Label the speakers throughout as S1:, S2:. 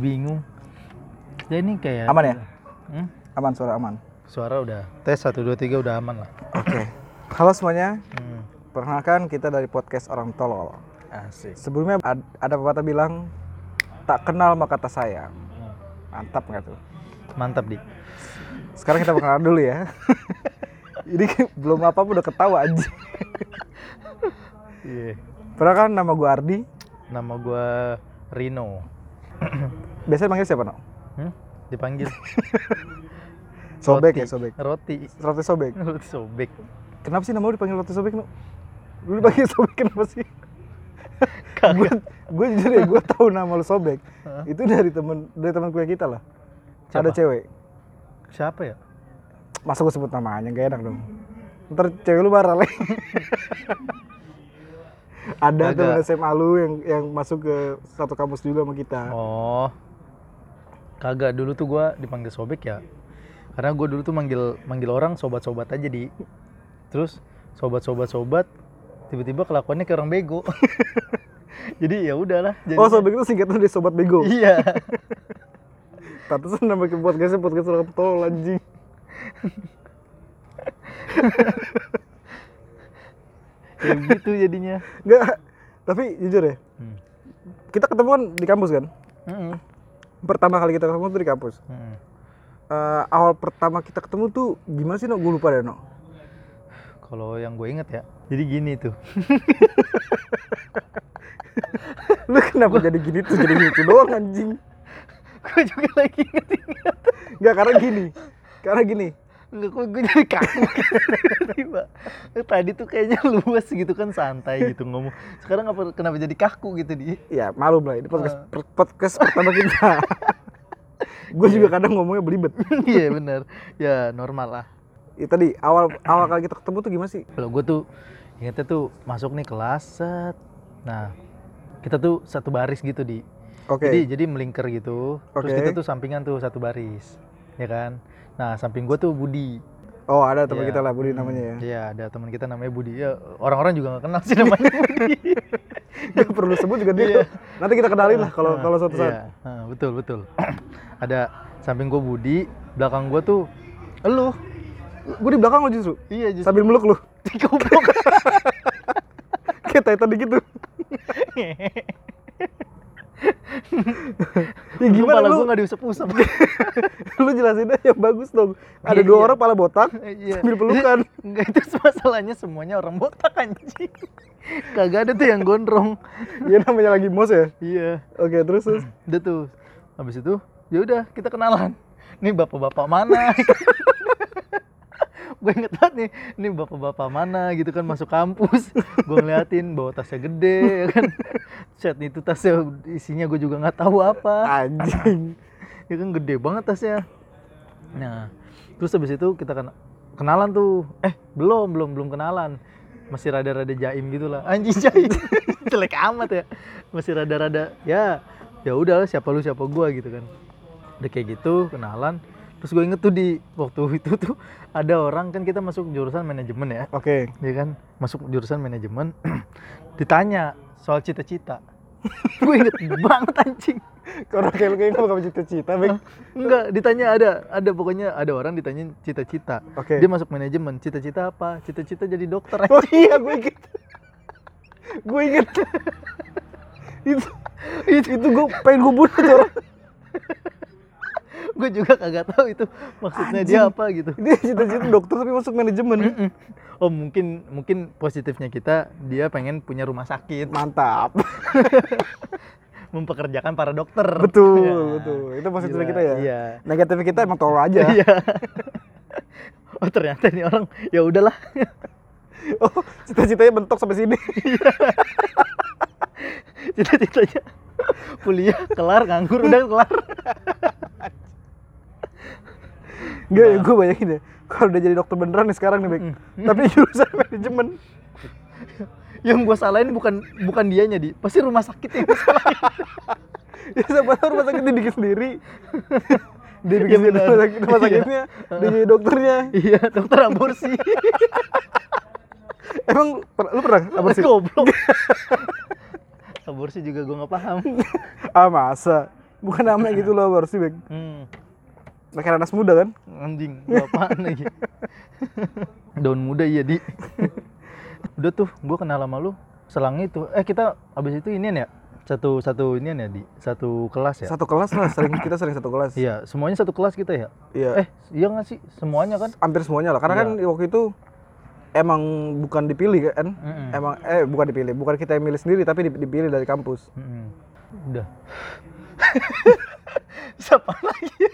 S1: bingung ya ini kayak
S2: Aman ya?
S1: Hmm?
S2: Aman suara aman.
S1: suara udah tes 1, 2, 3 udah aman lah
S2: Oke. Halo semuanya.
S1: hmm.
S2: Perkenalkan kita dari podcast Orang Tolol.
S1: asik
S2: Sebelumnya ad- ada pepatah bilang tak kenal maka tak sayang.
S1: Hmm.
S2: Mantap nggak tuh?
S1: mantap di
S2: Sekarang kita perkenalan dulu ya. Ini kan belum apa pun udah ketawa aja. Perkenalkan nama gue Ardi.
S1: Iya. nama gua Rino
S2: Biasanya panggil siapa, No?
S1: hmm? dipanggil
S2: Sobek
S1: Roti.
S2: ya, sobek.
S1: roti
S2: Roti sobek.
S1: Roti sobek
S2: Kenapa sih nama lu dipanggil roti sobek, No? Lu dipanggil sobek kenapa sih?
S1: kagak
S2: gue jujur ya gue tahu nama lu sobek
S1: Hah?
S2: itu dari temen dari teman kuliah kita lah ada
S1: Siapa?
S2: cewek
S1: siapa ya
S2: masa gue sebut namanya gak enak dong ntar cewek lu marah lagi ada
S1: Kagak.
S2: temen SMA lu yang yang masuk ke satu kampus juga sama kita
S1: oh kagak dulu tuh gua dipanggil sobek ya karena gua dulu tuh manggil manggil orang sobat-sobat aja di terus sobat-sobat sobat tiba-tiba kelakuannya kayak orang bego jadi ya udahlah
S2: oh,
S1: jadinya.
S2: sobek itu singkatan dari sobat bego
S1: iya
S2: pantesan nama ke podcastnya podcast orang tol anjing
S1: ya gitu jadinya
S2: Enggak, tapi jujur ya
S1: Hmm.
S2: kita ketemuan di kampus kan
S1: Mm-mm.
S2: pertama kali kita ketemu tuh di kampus
S1: Mm-mm.
S2: Eh, awal pertama kita ketemu tuh gimana sih no gue lupa deh no
S1: kalau yang gue inget ya jadi gini tuh
S2: lu kenapa jadi gini tuh jadi lucu doang anjing
S1: gue juga lagi inget inget
S2: nggak karena gini karena gini
S1: Enggak, gue, gue jadi kaku tiba Eh, tadi tuh kayaknya luas gitu kan santai gitu ngomong sekarang apa, kenapa jadi kaku gitu di
S2: ya malu lah ini podcast,
S1: Ah.
S2: per- podcast pertama kita gue juga kadang ngomongnya belibet
S1: iya benar ya normal lah
S2: ya, tadi awal awal kali kita ketemu tuh gimana sih
S1: kalau gue tuh ingetnya tuh masuk nih kelas set. nah kita tuh satu baris gitu di
S2: oke
S1: Jadi jadi melingkar gitu. Terus
S2: Oke.
S1: kita tuh sampingan tuh satu baris. Ya kan? Nah, samping gua tuh Budi.
S2: oh ada teman
S1: Iya.
S2: kita lah Budi
S1: Hmm,
S2: namanya ya
S1: Iya, ada teman kita namanya Budi. Ya, orang-orang juga nggak kenal sih namanya Budi.
S2: Nggak perlu sebut juga dia
S1: Iya.
S2: nanti kita kenalin lah kalau
S1: Nah,
S2: kalau suatu saat
S1: iya. Nah, betul, betul. ada samping gua Budi, belakang gua tuh elu.
S2: gue di belakang lo justru
S1: Iya, justru
S2: sambil meluk lu
S1: goblok.
S2: kayak tadi gitu ya gimana
S1: Kepala
S2: lu
S1: gua nggak diusap-usap.
S2: lu jelasin aja yang bagus dong ada
S1: Iya,
S2: dua
S1: iya.
S2: orang pala botak
S1: Iya.
S2: sambil pelukan
S1: Enggak itu masalahnya semuanya orang botak anjing. Kagak ada tuh yang gondrong.
S2: ya namanya lagi mos ya
S1: Iya.
S2: oke terus terus
S1: udah tuh habis itu ya udah kita kenalan nih bapak-bapak mana gue inget banget nih nih bapak-bapak mana gitu kan masuk kampus gue ngeliatin bawa tasnya gede ya kan set itu tasnya isinya gue juga nggak tahu apa
S2: anjing
S1: ya kan gede banget tasnya nah terus habis itu kita kena- kenalan tuh eh belum belum belum kenalan masih rada-rada jaim gitu lah anjing jaim jelek amat ya masih rada-rada ya ya udah lah, siapa lu siapa gua gitu kan udah kayak gitu kenalan terus gue inget tuh di waktu itu tuh ada orang kan kita masuk jurusan manajemen ya
S2: oke
S1: ya kan masuk jurusan manajemen ditanya soal cita-cita gue inget banget anjing
S2: Kalau kayak lu kayaknya gak cita-cita, Bek.
S1: Enggak, ditanya ada, ada pokoknya ada orang ditanya cita-cita.
S2: Oke.
S1: Dia masuk manajemen, cita-cita apa? Cita-cita jadi dokter.
S2: Oh iya, gue inget. gue inget. itu, itu, itu gue pengen gue bunuh tuh orang.
S1: gue juga kagak tahu itu maksudnya dia
S2: Anjing.
S1: apa gitu.
S2: Dia cita-cita dokter tapi masuk
S1: Mm.
S2: manajemen.
S1: Oh mungkin mungkin positifnya kita dia pengen punya rumah sakit,
S2: Mantap.
S1: mempekerjakan para dokter.
S2: Betul,
S1: Ya.
S2: betul. Itu positifnya
S1: Gila,
S2: kita ya.
S1: Iya.
S2: Negatif kita emang tolol aja.
S1: Iya. oh ternyata nih orang ya udahlah.
S2: Oh, cita-citanya bentok sampai sini.
S1: cita-citanya kuliah kelar nganggur udah kelar.
S2: Enggak, ya, gue bayangin ya. Kalau udah jadi dokter beneran nih sekarang nih,
S1: Hmm.
S2: Bek. Tapi jurusan manajemen.
S1: Yang gue salahin bukan bukan dianya di, pasti rumah sakit yang gua salahin.
S2: Ya siapa tahu rumah sakit dibikin sendiri. Dia
S1: Iya,
S2: bikin sendiri
S1: benar.
S2: rumah sakit, rumah
S1: Iya.
S2: sakitnya, dia jadi dokternya.
S1: Iya, dokter aborsi.
S2: Emang per- lu pernah aborsi?
S1: Goblok. aborsi juga gue nggak paham.
S2: Ah masa? bukan nama gitu loh baru sih bang
S1: Hmm.
S2: pakai nanas muda kan
S1: Anjing, apaan lagi? Daun muda iya, Di. Udah tuh, gua kenal sama lu selang itu. Eh, kita abis itu inian ya? Satu satu inian ya, Di. Satu kelas ya?
S2: satu kelas lah sering kita sering satu kelas
S1: Iya, semuanya satu kelas kita ya?
S2: Iya.
S1: Eh, iya nggak sih? Semuanya kan?
S2: hampir semuanya lah karena kan waktu itu emang bukan dipilih kan
S1: Mm-mm.
S2: emang eh bukan dipilih bukan kita yang milih sendiri tapi dip- dipilih dari kampus
S1: Mm-mm. Hmm, Udah. Siapa lagi?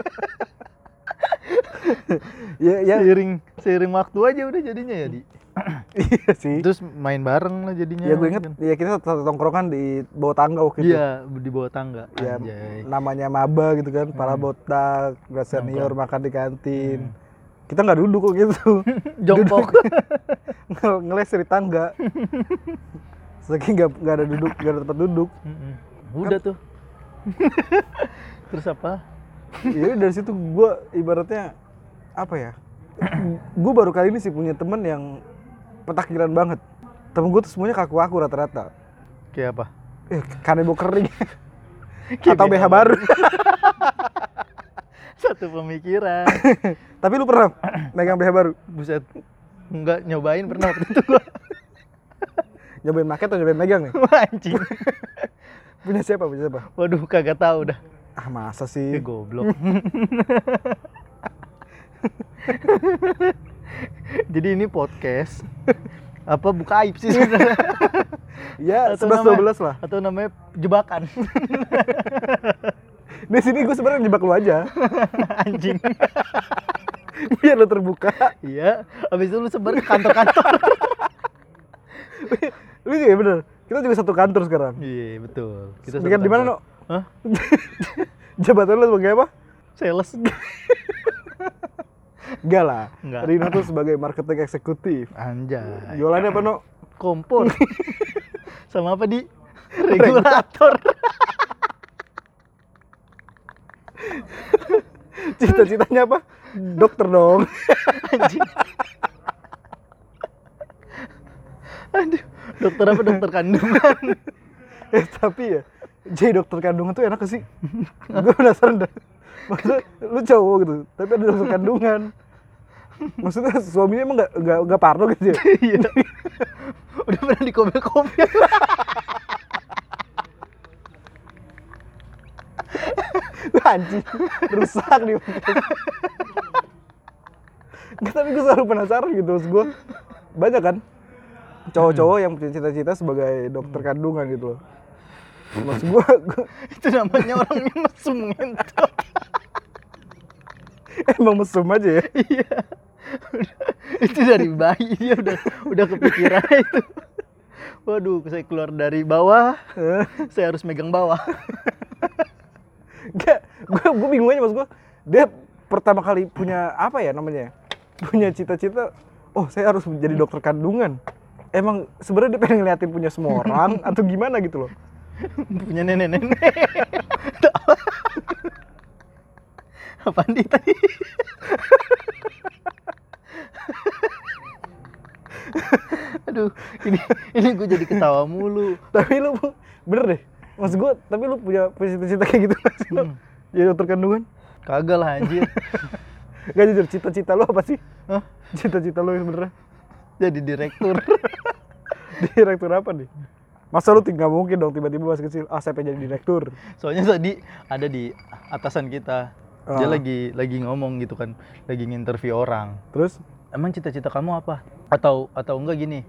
S1: Iya,
S2: ya ya
S1: Seiring, seiring waktu aja udah jadinya ya, Di.
S2: iya sih
S1: Terus main bareng lah jadinya.
S2: ya gue inget ya kita satu, satu tongkrongan di bawah tangga waktu itu
S1: Iya, di bawah tangga.
S2: ya
S1: Anjay.
S2: namanya maba gitu kan para botak beras senior makan di kantin
S1: Hmm.
S2: kita nggak duduk kok gitu
S1: Jongkok.
S2: Ngel- ngeles dari tangga saking nggak nggak ada duduk nggak ada tempat duduk
S1: Mm-mm. Udah tuh. Terus apa?
S2: ya dari situ gue ibaratnya apa ya gue baru kali ini sih punya temen yang petakilan banget temen gue tuh semuanya kaku aku rata-rata
S1: Kayak apa?
S2: eh kanebo kering atau BH baru
S1: Satu pemikiran.
S2: tapi lu pernah megang BH baru
S1: Buset. Enggak nyobain pernah waktu itu gua
S2: nyobain pakai atau nyobain megang nih
S1: mancing.
S2: punya siapa punya siapa
S1: Waduh kagak tahu dah.
S2: ah masa
S1: Eh,
S2: sih
S1: goblok. Jadi ini podcast apa buka aib sih sebenarnya
S2: ya
S1: Atau
S2: 11
S1: namanya-
S2: 12 lah
S1: atau namanya jebakan
S2: di sini gue sebenarnya jebak lu aja
S1: anjing
S2: biar lu terbuka
S1: iya habis itu lu sebar ke kantor-kantor
S2: lu iya bener kita juga satu kantor sekarang
S1: iya betul
S2: Dengan
S1: satu
S2: di mana
S1: kantor.
S2: no
S1: Hah?
S2: jabatan lu sebagai apa
S1: sales
S2: enggak lah
S1: Nggak.
S2: Rino tuh sebagai marketing eksekutif
S1: anjay
S2: jualannya apa no
S1: kompor sama apa di regulator
S2: cita-citanya apa dokter dong
S1: anjing aduh dokter apa dokter kandungan
S2: eh tapi ya jadi dokter kandungan tuh enak gak sih gue penasaran dah maksudnya lu cowok gitu tapi ada dokter kandungan maksudnya suaminya emang gak, gak, gak parno gitu ya
S1: iya udah pernah di komik komik
S2: anjing rusak nih Nggak, tapi gue selalu penasaran gitu maksud gue banyak kan cowok-cowok yang punya cita-cita sebagai dokter kandungan gitu loh maksud gue
S1: itu namanya orang mesum ngentot
S2: emang mesum aja ya
S1: iya Udah, itu dari bayi dia udah udah kepikiran itu waduh saya keluar dari bawah saya harus megang bawah
S2: Enggak, gue gue bingung aja maksud gue dia pertama kali punya apa ya namanya ya? punya cita-cita oh saya harus menjadi dokter kandungan emang sebenarnya dia pengen ngeliatin punya semua orang atau gimana gitu loh
S1: punya nenek-nenek. Apaan di tadi? Aduh, ini ini gue jadi ketawa mulu.
S2: tapi lu bener deh maksud gue tapi lu punya punya cita-cita kayak gitu nggak sih lu? jadi dokter kandungan
S1: Kagak lah anjir.
S2: gak jujur cita-cita lu apa sih
S1: Hah?
S2: cita-cita lu yang sebenarnya
S1: Jadi direktur.
S2: direktur apa nih masa lu tinggal mungkin dong tiba-tiba masih kecil ah saya pengen jadi direktur
S1: Soalnya tadi ada di atasan kita. Dia
S2: Ah.
S1: lagi lagi ngomong gitu kan, lagi nginterview orang.
S2: terus
S1: emang cita-cita kamu apa atau atau enggak gini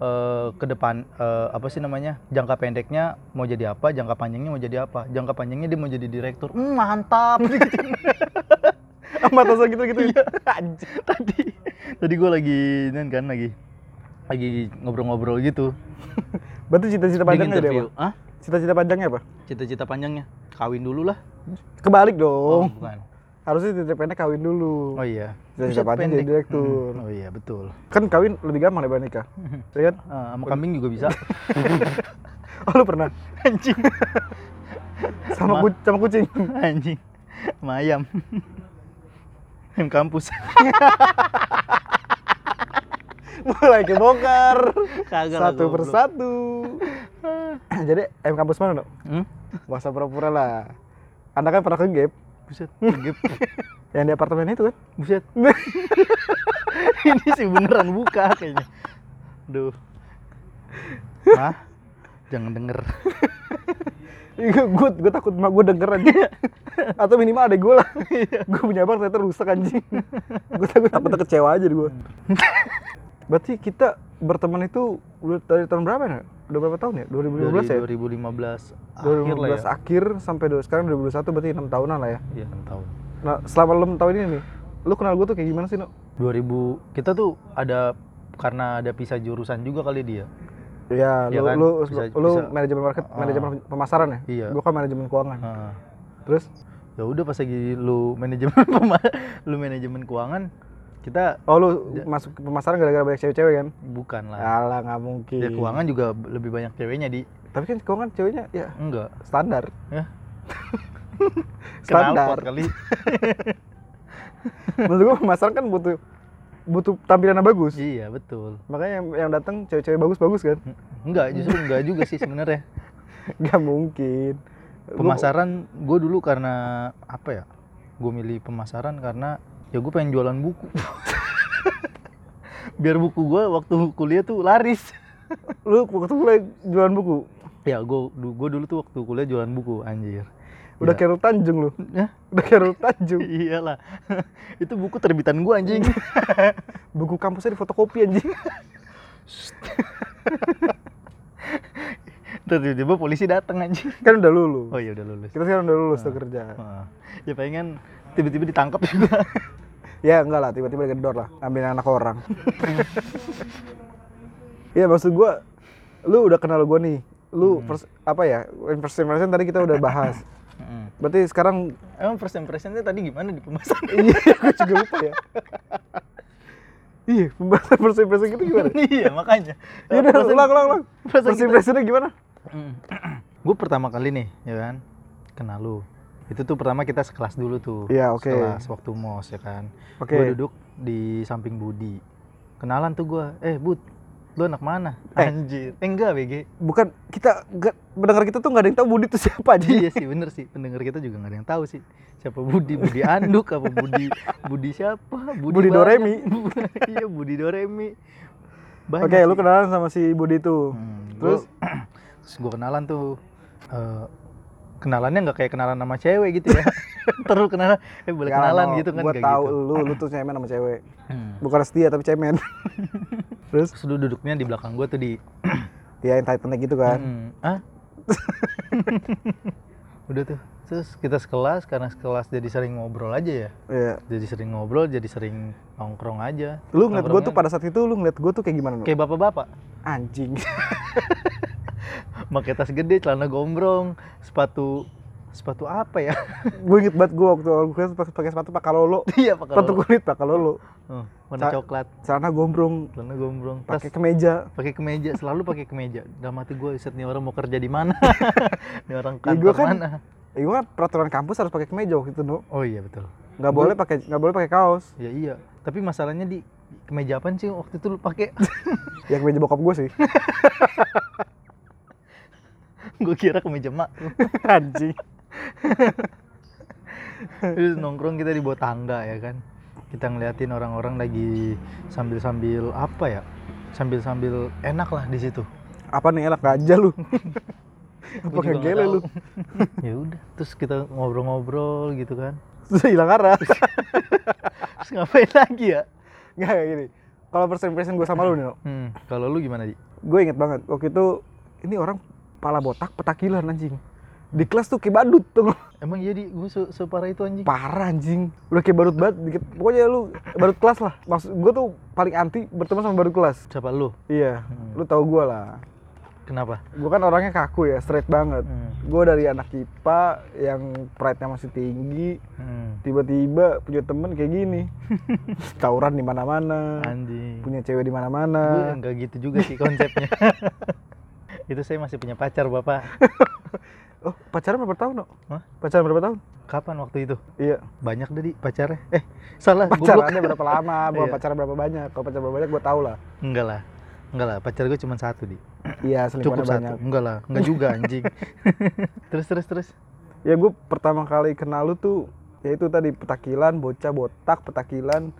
S1: eh ke depan eh, apa sih namanya jangka pendeknya mau jadi apa jangka panjangnya mau jadi apa jangka panjangnya dia mau jadi direktur Hmm, mantap Gitu
S2: sama atasan gitu gitu
S1: Anjing. tadi tadi gue lagi ini kan lagi lagi ngobrol-ngobrol gitu
S2: berarti cita-cita
S1: di
S2: panjangnya jadi
S1: interview
S2: apa
S1: ah
S2: cita-cita panjangnya apa
S1: cita-cita panjangnya kawin dulu lah
S2: kebalik
S1: oh,
S2: dong
S1: bukan
S2: harusnya cita-cita pendek kawin dulu
S1: oh iya
S2: Cita-cita
S1: Buset,
S2: panjang jadi
S1: pendek.
S2: direktur.
S1: Hmm, oh iya betul
S2: kan kawin lebih gampang daripada nikah ya kan
S1: Eh, sama kambing juga bisa
S2: oh lu pernah
S1: anjing Ma-
S2: sama, ku- sama kucing
S1: anjing sama ayam ayam kampus
S2: mulai kebongkar
S1: Kagak lah,
S2: satu
S1: goblok.
S2: persatu jadi M kampus mana dok
S1: Hmm?
S2: masa pura-pura lah Anda kan pernah ke gap
S1: buset kegep.
S2: yang di apartemen itu kan?
S1: buset ini sih beneran buka kayaknya duh mah jangan denger
S2: gue gue Iya, takut mak gue denger aja atau minimal ada gue lah gue punya abang ternyata rusak anjing gue takut takutnya kecewa aja gue berarti kita berteman itu udah dari tahun berapa ya udah berapa tahun ya 2015 ya
S1: 2015 akhir lah
S2: 2015
S1: ya
S2: akhir sampai do- sekarang 2021 berarti 6 tahunan lah ya
S1: iya enam tahun
S2: nah selama 6 tahun ini nih lu kenal gue tuh kayak gimana sih no
S1: 2000 kita tuh ada karena ada pisah jurusan juga kali dia
S2: ya
S1: Iya
S2: lu
S1: kan?
S2: lu
S1: Bisa-
S2: lu
S1: bisa.
S2: manajemen market
S1: Ah.
S2: manajemen pemasaran ya
S1: Iya.
S2: gue kan manajemen keuangan
S1: Heeh.
S2: terus
S1: ya udah pas lagi lu manajemen pema- lu manajemen keuangan kita
S2: oh lu
S1: Iya.
S2: masuk ke pemasaran gara-gara banyak cewek-cewek kan
S1: bukan lah
S2: Alah nggak mungkin.
S1: ya Nah. keuangan juga b- lebih banyak ceweknya di
S2: Tapi kan keuangan ceweknya ya
S1: enggak
S2: standar.
S1: ya kenal
S2: Standar.
S1: kali
S2: Menurut gua pemasaran kan butuh butuh tampilan yang bagus.
S1: iya betul
S2: Makanya yang, yang datang cewek-cewek bagus-bagus kan?
S1: enggak justru enggak juga sih sebenarnya
S2: Gak mungkin.
S1: pemasaran gue dulu karena apa ya gue milih pemasaran karena ya gue pengen jualan buku biar buku gue waktu kuliah tuh laris
S2: Lu lu waktu mulai jualan buku
S1: ya gue gue dulu tuh waktu kuliah jualan buku anjir Nah,
S2: udah
S1: Ya.
S2: kayak Rul Tanjung lu.
S1: Hah?
S2: Udah kayak Rul Tanjung.
S1: iyalah itu buku terbitan gue anjing
S2: Buku kampusnya difotokopi anjing.
S1: Ntar tiba-tiba polisi datang anjing
S2: kan udah lulus.
S1: oh Ah. iya udah lulus
S2: Kita sekarang udah lulus tuh kerja.
S1: Heeh. ya pengen tiba-tiba ditangkap juga
S2: Ya enggak lah, tiba-tiba gedor lah, ambil anak orang. Iya maksud gua, lu udah kenal gua nih,
S1: Hmm.
S2: lu pers- apa ya first impression tadi kita udah bahas.
S1: Heeh.
S2: Berarti sekarang
S1: emang first impressionnya tadi gimana di pemasaran
S2: iya gua juga lupa ya. Iya, pembahasan first impression kita gimana?
S1: iya makanya
S2: Iya, udah,
S1: Perasaan-
S2: ulang, ulang, ulang.
S1: perasaan
S2: First
S1: kita-
S2: impressionnya gimana?
S1: gue Mm. pertama kali nih ya kan kenal lu itu tuh pertama kita sekelas dulu tuh
S2: Iya, oke.
S1: sekelas waktu mos ya kan
S2: Oke.
S1: gue duduk di samping Budi kenalan tuh gue eh Bud lu anak mana
S2: Eh.
S1: anjir eh, enggak BG
S2: Bukan kita enggak mendengar kita tuh nggak ada yang tahu Budi itu siapa aja.
S1: iya sih bener sih pendengar kita juga nggak ada yang tahu sih siapa Budi Budi Anduk apa Budi Budi siapa
S2: Budi
S1: banyak.
S2: Doremi.
S1: iya Budi Doremi Banyak
S2: Oke, lu
S1: sih.
S2: kenalan sama si Budi itu.
S1: Hmm,
S2: Terus?
S1: terus terus gue kenalan tuh eh, kenalannya nggak kayak kenalan sama cewek gitu ya terus kenalan eh boleh kenalan gitu kan
S2: Gua
S1: kayak
S2: tahu
S1: gitu
S2: lu, lu tuh cemen sama cewek.
S1: Hmm.
S2: Bukan setia tapi cemen. Terus
S1: terus lu duduknya di belakang gue tuh di
S2: ya yang Titanic gitu kan.
S1: hmm, ah udah tuh terus kita sekelas karena sekelas jadi sering ngobrol aja ya
S2: Iya.
S1: jadi sering ngobrol jadi sering nongkrong aja
S2: Lu ngeliat gue tuh
S1: Nongkrongnya
S2: pada saat itu lu ngeliat gue tuh kayak gimana? Lu?
S1: kayak bapak-bapak
S2: Anjing.
S1: pakai tas gede celana gombrong sepatu sepatu apa ya
S2: gue inget banget gue waktu awal gue pakai pakai sepatu pakai lolo.
S1: iya pakai
S2: Sepatu
S1: lolo.
S2: kulit pakai lolo.
S1: Oh, warna
S2: Sa-
S1: coklat
S2: Celana gombrong.
S1: celana gombrong tas
S2: Pakai kemeja.
S1: pakai kemeja selalu pakai kemeja dalam hati gue set nih orang mau kerja di mana nih orang
S2: Ya,
S1: kantor
S2: gua kan-
S1: mana
S2: Ya, gue kan peraturan kampus harus pakai kemeja waktu itu, no.
S1: oh iya betul
S2: Gak boleh pakai nggak boleh pakai kaos.
S1: ya iya tapi masalahnya di kemeja apa sih waktu itu lu pakai
S2: Ya kemeja bokap gue sih.
S1: gue kira kemeja mak
S2: Anjing.
S1: terus nongkrong kita di bawah tangga ya kan kita ngeliatin orang-orang lagi sambil-sambil apa ya sambil-sambil enak lah di situ
S2: Apa nih enak aja lu? Apa
S1: Gua juga nggak
S2: ngegele
S1: tahu.
S2: lu?
S1: ya udah terus kita ngobrol-ngobrol gitu kan
S2: Terus hilang arah.
S1: terus ngapain lagi ya
S2: Nggak kayak gini. Kalau first impression gue sama lu nih, no.
S1: hmm, kalau lu gimana di
S2: gue inget banget waktu itu ini orang pala botak petakilan anjing di kelas tuh kayak badut tuh
S1: emang jadi gue se- separah itu anjing
S2: parah anjing udah kayak badut banget dikit pokoknya lu badut kelas lah maksud gue tuh paling anti berteman sama badut kelas
S1: siapa lu
S2: iya
S1: Hmm.
S2: lu tau gue lah
S1: kenapa
S2: gue kan orangnya kaku ya straight banget
S1: Hmm.
S2: gue dari anak IPA yang pride-nya masih tinggi
S1: Hmm.
S2: tiba-tiba punya temen kayak gini tawuran di mana-mana
S1: Anjing.
S2: punya cewek di
S1: Gue
S2: mana-mana
S1: enggak gitu juga sih konsepnya. itu saya masih punya pacar, Bapak.
S2: oh pacaran berapa tahun no?
S1: Hah?
S2: pacaran berapa tahun
S1: Kapan waktu itu?
S2: iya
S1: Banyak dari pacarnya. Eh, salah. goblok.
S2: pacarannya berapa lama bukan
S1: Iya.
S2: pacaran berapa banyak kalau pacaran berapa banyak gue tau lah
S1: Enggak lah. Enggak lah, pacar gue cuma satu, Di.
S2: iya selingkuhannya
S1: Cukup satu.
S2: banyak
S1: Enggak lah, enggak juga anjing. terus terus terus.
S2: ya gue pertama kali kenal lu tuh ya itu tadi petakilan bocah botak petakilan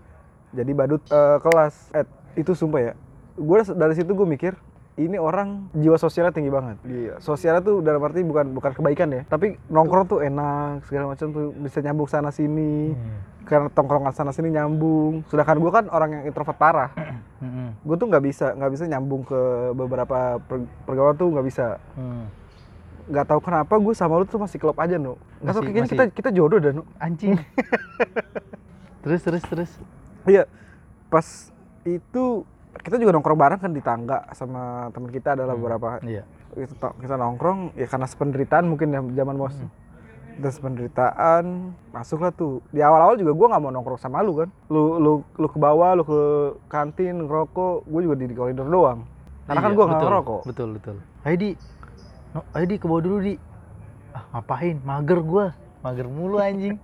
S2: jadi badut eh, kelas eh itu sumpah ya gue dari situ gue mikir ini orang jiwa sosialnya tinggi banget
S1: Iya.
S2: sosialnya tuh dalam arti bukan bukan kebaikan ya tapi nongkrong tuh enak segala macam tuh bisa nyambung sana sini
S1: Hmm.
S2: karena tongkrongan sana sini nyambung sedangkan gue kan orang yang introvert parah
S1: Mm-mm.
S2: gue tuh nggak bisa nggak bisa nyambung ke beberapa per- pergaulan tuh nggak bisa
S1: Hmm.
S2: nggak tahu kenapa gue sama lu tuh masih klop aja no nggak tahu
S1: Masih-
S2: kayaknya
S1: masih.
S2: kita kita jodoh dan no
S1: Anjing. terus terus terus.
S2: iya pas itu kita juga nongkrong bareng kan di tangga sama teman kita adalah beberapa
S1: Iya.
S2: kita, to- kita nongkrong ya karena sependeritaan mungkin ya zaman bos terus penderitaan masuklah tuh di awal-awal juga gua nggak mau nongkrong sama lu kan lu lu lu ke bawah lu ke kantin ngerokok gue juga di, di koridor doang karena kan
S1: Iya,
S2: gua nggak
S1: betul,
S2: ngerokok
S1: Betul betul. Ayo di, no, ayo di ke bawah dulu di. Ah, ngapain? Mager gua. Mager mulu anjing.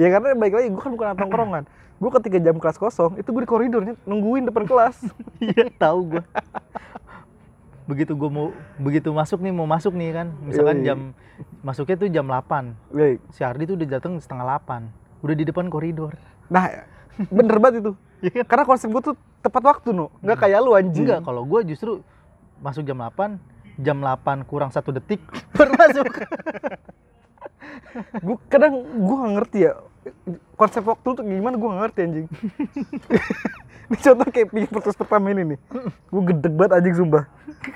S2: ya karena baik lagi gua kan bukan anak nongkrongan gue ketika jam kelas kosong itu gue di koridornya nungguin depan kelas
S1: Iya tahu gua. Begitu gua mau begitu masuk nih mau masuk nih kan, misalkan
S2: Yoi.
S1: jam masuknya tuh jam 8.
S2: Baik.
S1: Si Ardi tuh udah datang setengah 8. Udah di depan koridor.
S2: nah bener banget itu
S1: Iya.
S2: karena konsep gue tuh tepat waktu no nggak kayak lu anjing
S1: Enggak, kalau gua justru masuk jam 8, jam 8 kurang satu detik baru masuk.
S2: gue kadang gue nggak ngerti ya konsep waktu tuh gimana gue nggak ngerti anjing ini contoh kayak pikir podcast pertama ini nih gue gedeg banget anjing sumpah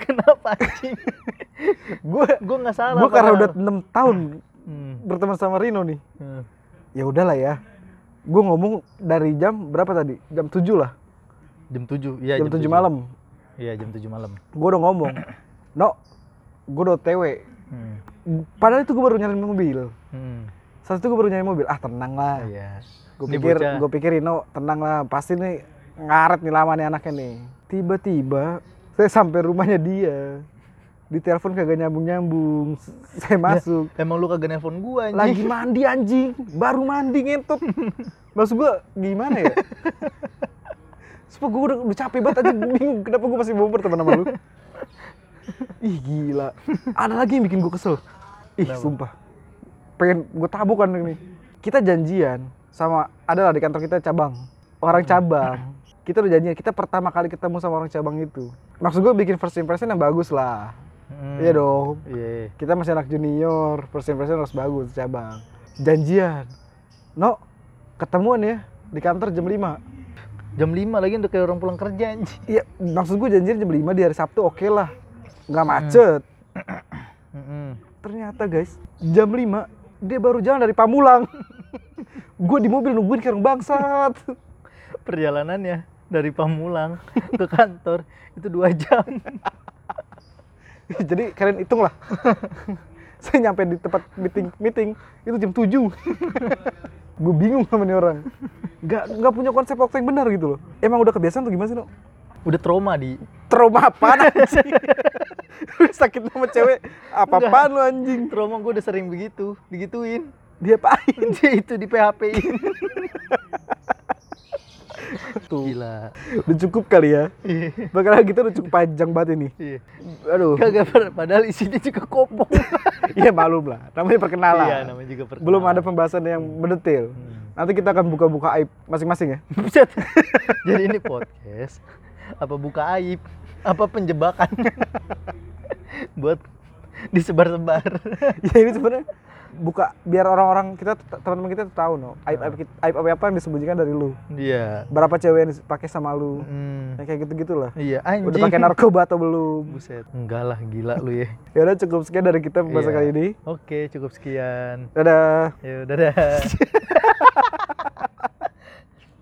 S1: Kenapa anjing?
S2: gue
S1: Gua nggak salah.
S2: gue karena
S1: padahal.
S2: udah enam tahun
S1: Hmm,
S2: berteman sama Rino nih
S1: hmm.
S2: ya udahlah ya gue ngomong dari jam berapa tadi jam 7 lah
S1: jam 7. Iya,
S2: jam 7 malam
S1: Iya, jam 7 malam.
S2: gue udah ngomong no gue udah otw
S1: Hmm.
S2: padahal itu gue baru nyari mobil
S1: Hmm.
S2: saat itu gue baru nyari mobil ah tenang lah
S1: Iya.
S2: Gue
S1: Ini
S2: pikir,
S1: bocah.
S2: gue pikir Rino tenang lah, pasti nih ngaret nih lama nih anaknya nih. Tiba-tiba saya sampai rumahnya dia, ditelepon kagak nyambung-nyambung, S- saya masuk.
S1: Emang lu kagak nelpon gua anjing.
S2: Lagi mandi anjing, baru mandi ngentut. Maksud gue gimana ya? Sumpah gue udah, udah capek banget aja, bingung kenapa gue masih mau berteman sama lu. Ih gila, ada lagi yang bikin gue kesel. Ih
S1: Kenapa?
S2: sumpah, pengen gue tabukan ini. Kita janjian sama, adalah di kantor kita cabang, orang
S1: Hmm.
S2: cabang. Kita udah janjian, kita pertama kali ketemu sama orang cabang itu. Maksud gue bikin first impression yang bagus lah.
S1: Hmm.
S2: Iya dong
S1: Iya. iya.
S2: kita masih anak junior, first impression harus bagus cabang. Janjian. No, ketemuan ya di kantor jam 5.
S1: Jam 5 lagi udah kayak orang pulang kerja anjing.
S2: Iya, maksud gue janjian jam 5 di hari Sabtu oke lah. Nggak macet.
S1: Hmm.
S2: Ternyata guys, jam 5 dia baru jalan dari Pamulang. gue di mobil nungguin karung bangsat.
S1: Perjalanannya dari Pamulang ke kantor itu dua jam.
S2: Jadi kalian hitung lah. Saya nyampe di tempat meeting meeting itu jam 7. gue bingung sama nih orang. Gak, nggak punya konsep waktu yang benar gitu loh. Emang udah kebiasaan tuh gimana sih, No?
S1: Udah trauma di.
S2: trauma apaan anjing? Lu sakit sama cewek apa-apaan lu anjing?
S1: Trauma gua udah sering begitu, digituin.
S2: Dia pahit
S1: Dia itu di PHP-in.
S2: tuh.
S1: Gila.
S2: Udah cukup kali ya.
S1: Iya.
S2: Makanya kita udah cukup panjang banget ini.
S1: Iya.
S2: Aduh.
S1: Kagak per- padahal isinya juga kopong.
S2: Iya malum lah. Namanya perkenalan.
S1: Iya, namanya juga perkenalan. Hmm.
S2: Belum ada pembahasan yang mendetil. Nanti kita akan buka-buka aib masing-masing ya.
S1: Buset. Jadi ini podcast apa buka aib, apa penjebakan buat disebar-sebar.
S2: ya ini sebenarnya buka biar orang-orang kita teman-teman kita tuh tahu no aib aib kita- aib aib apa yang disembunyikan dari lu
S1: Iya.
S2: berapa cewek yang dipakai sama lu
S1: Hmm.
S2: ya, kayak gitu gitulah
S1: Iya, anjing.
S2: udah pakai narkoba atau belum
S1: Buset. Enggak lah, gila lu ya.
S2: ya udah cukup sekian dari kita pembahasan
S1: Iya.
S2: kali ini
S1: Oke, cukup sekian.
S2: dadah
S1: Yaudah dadah.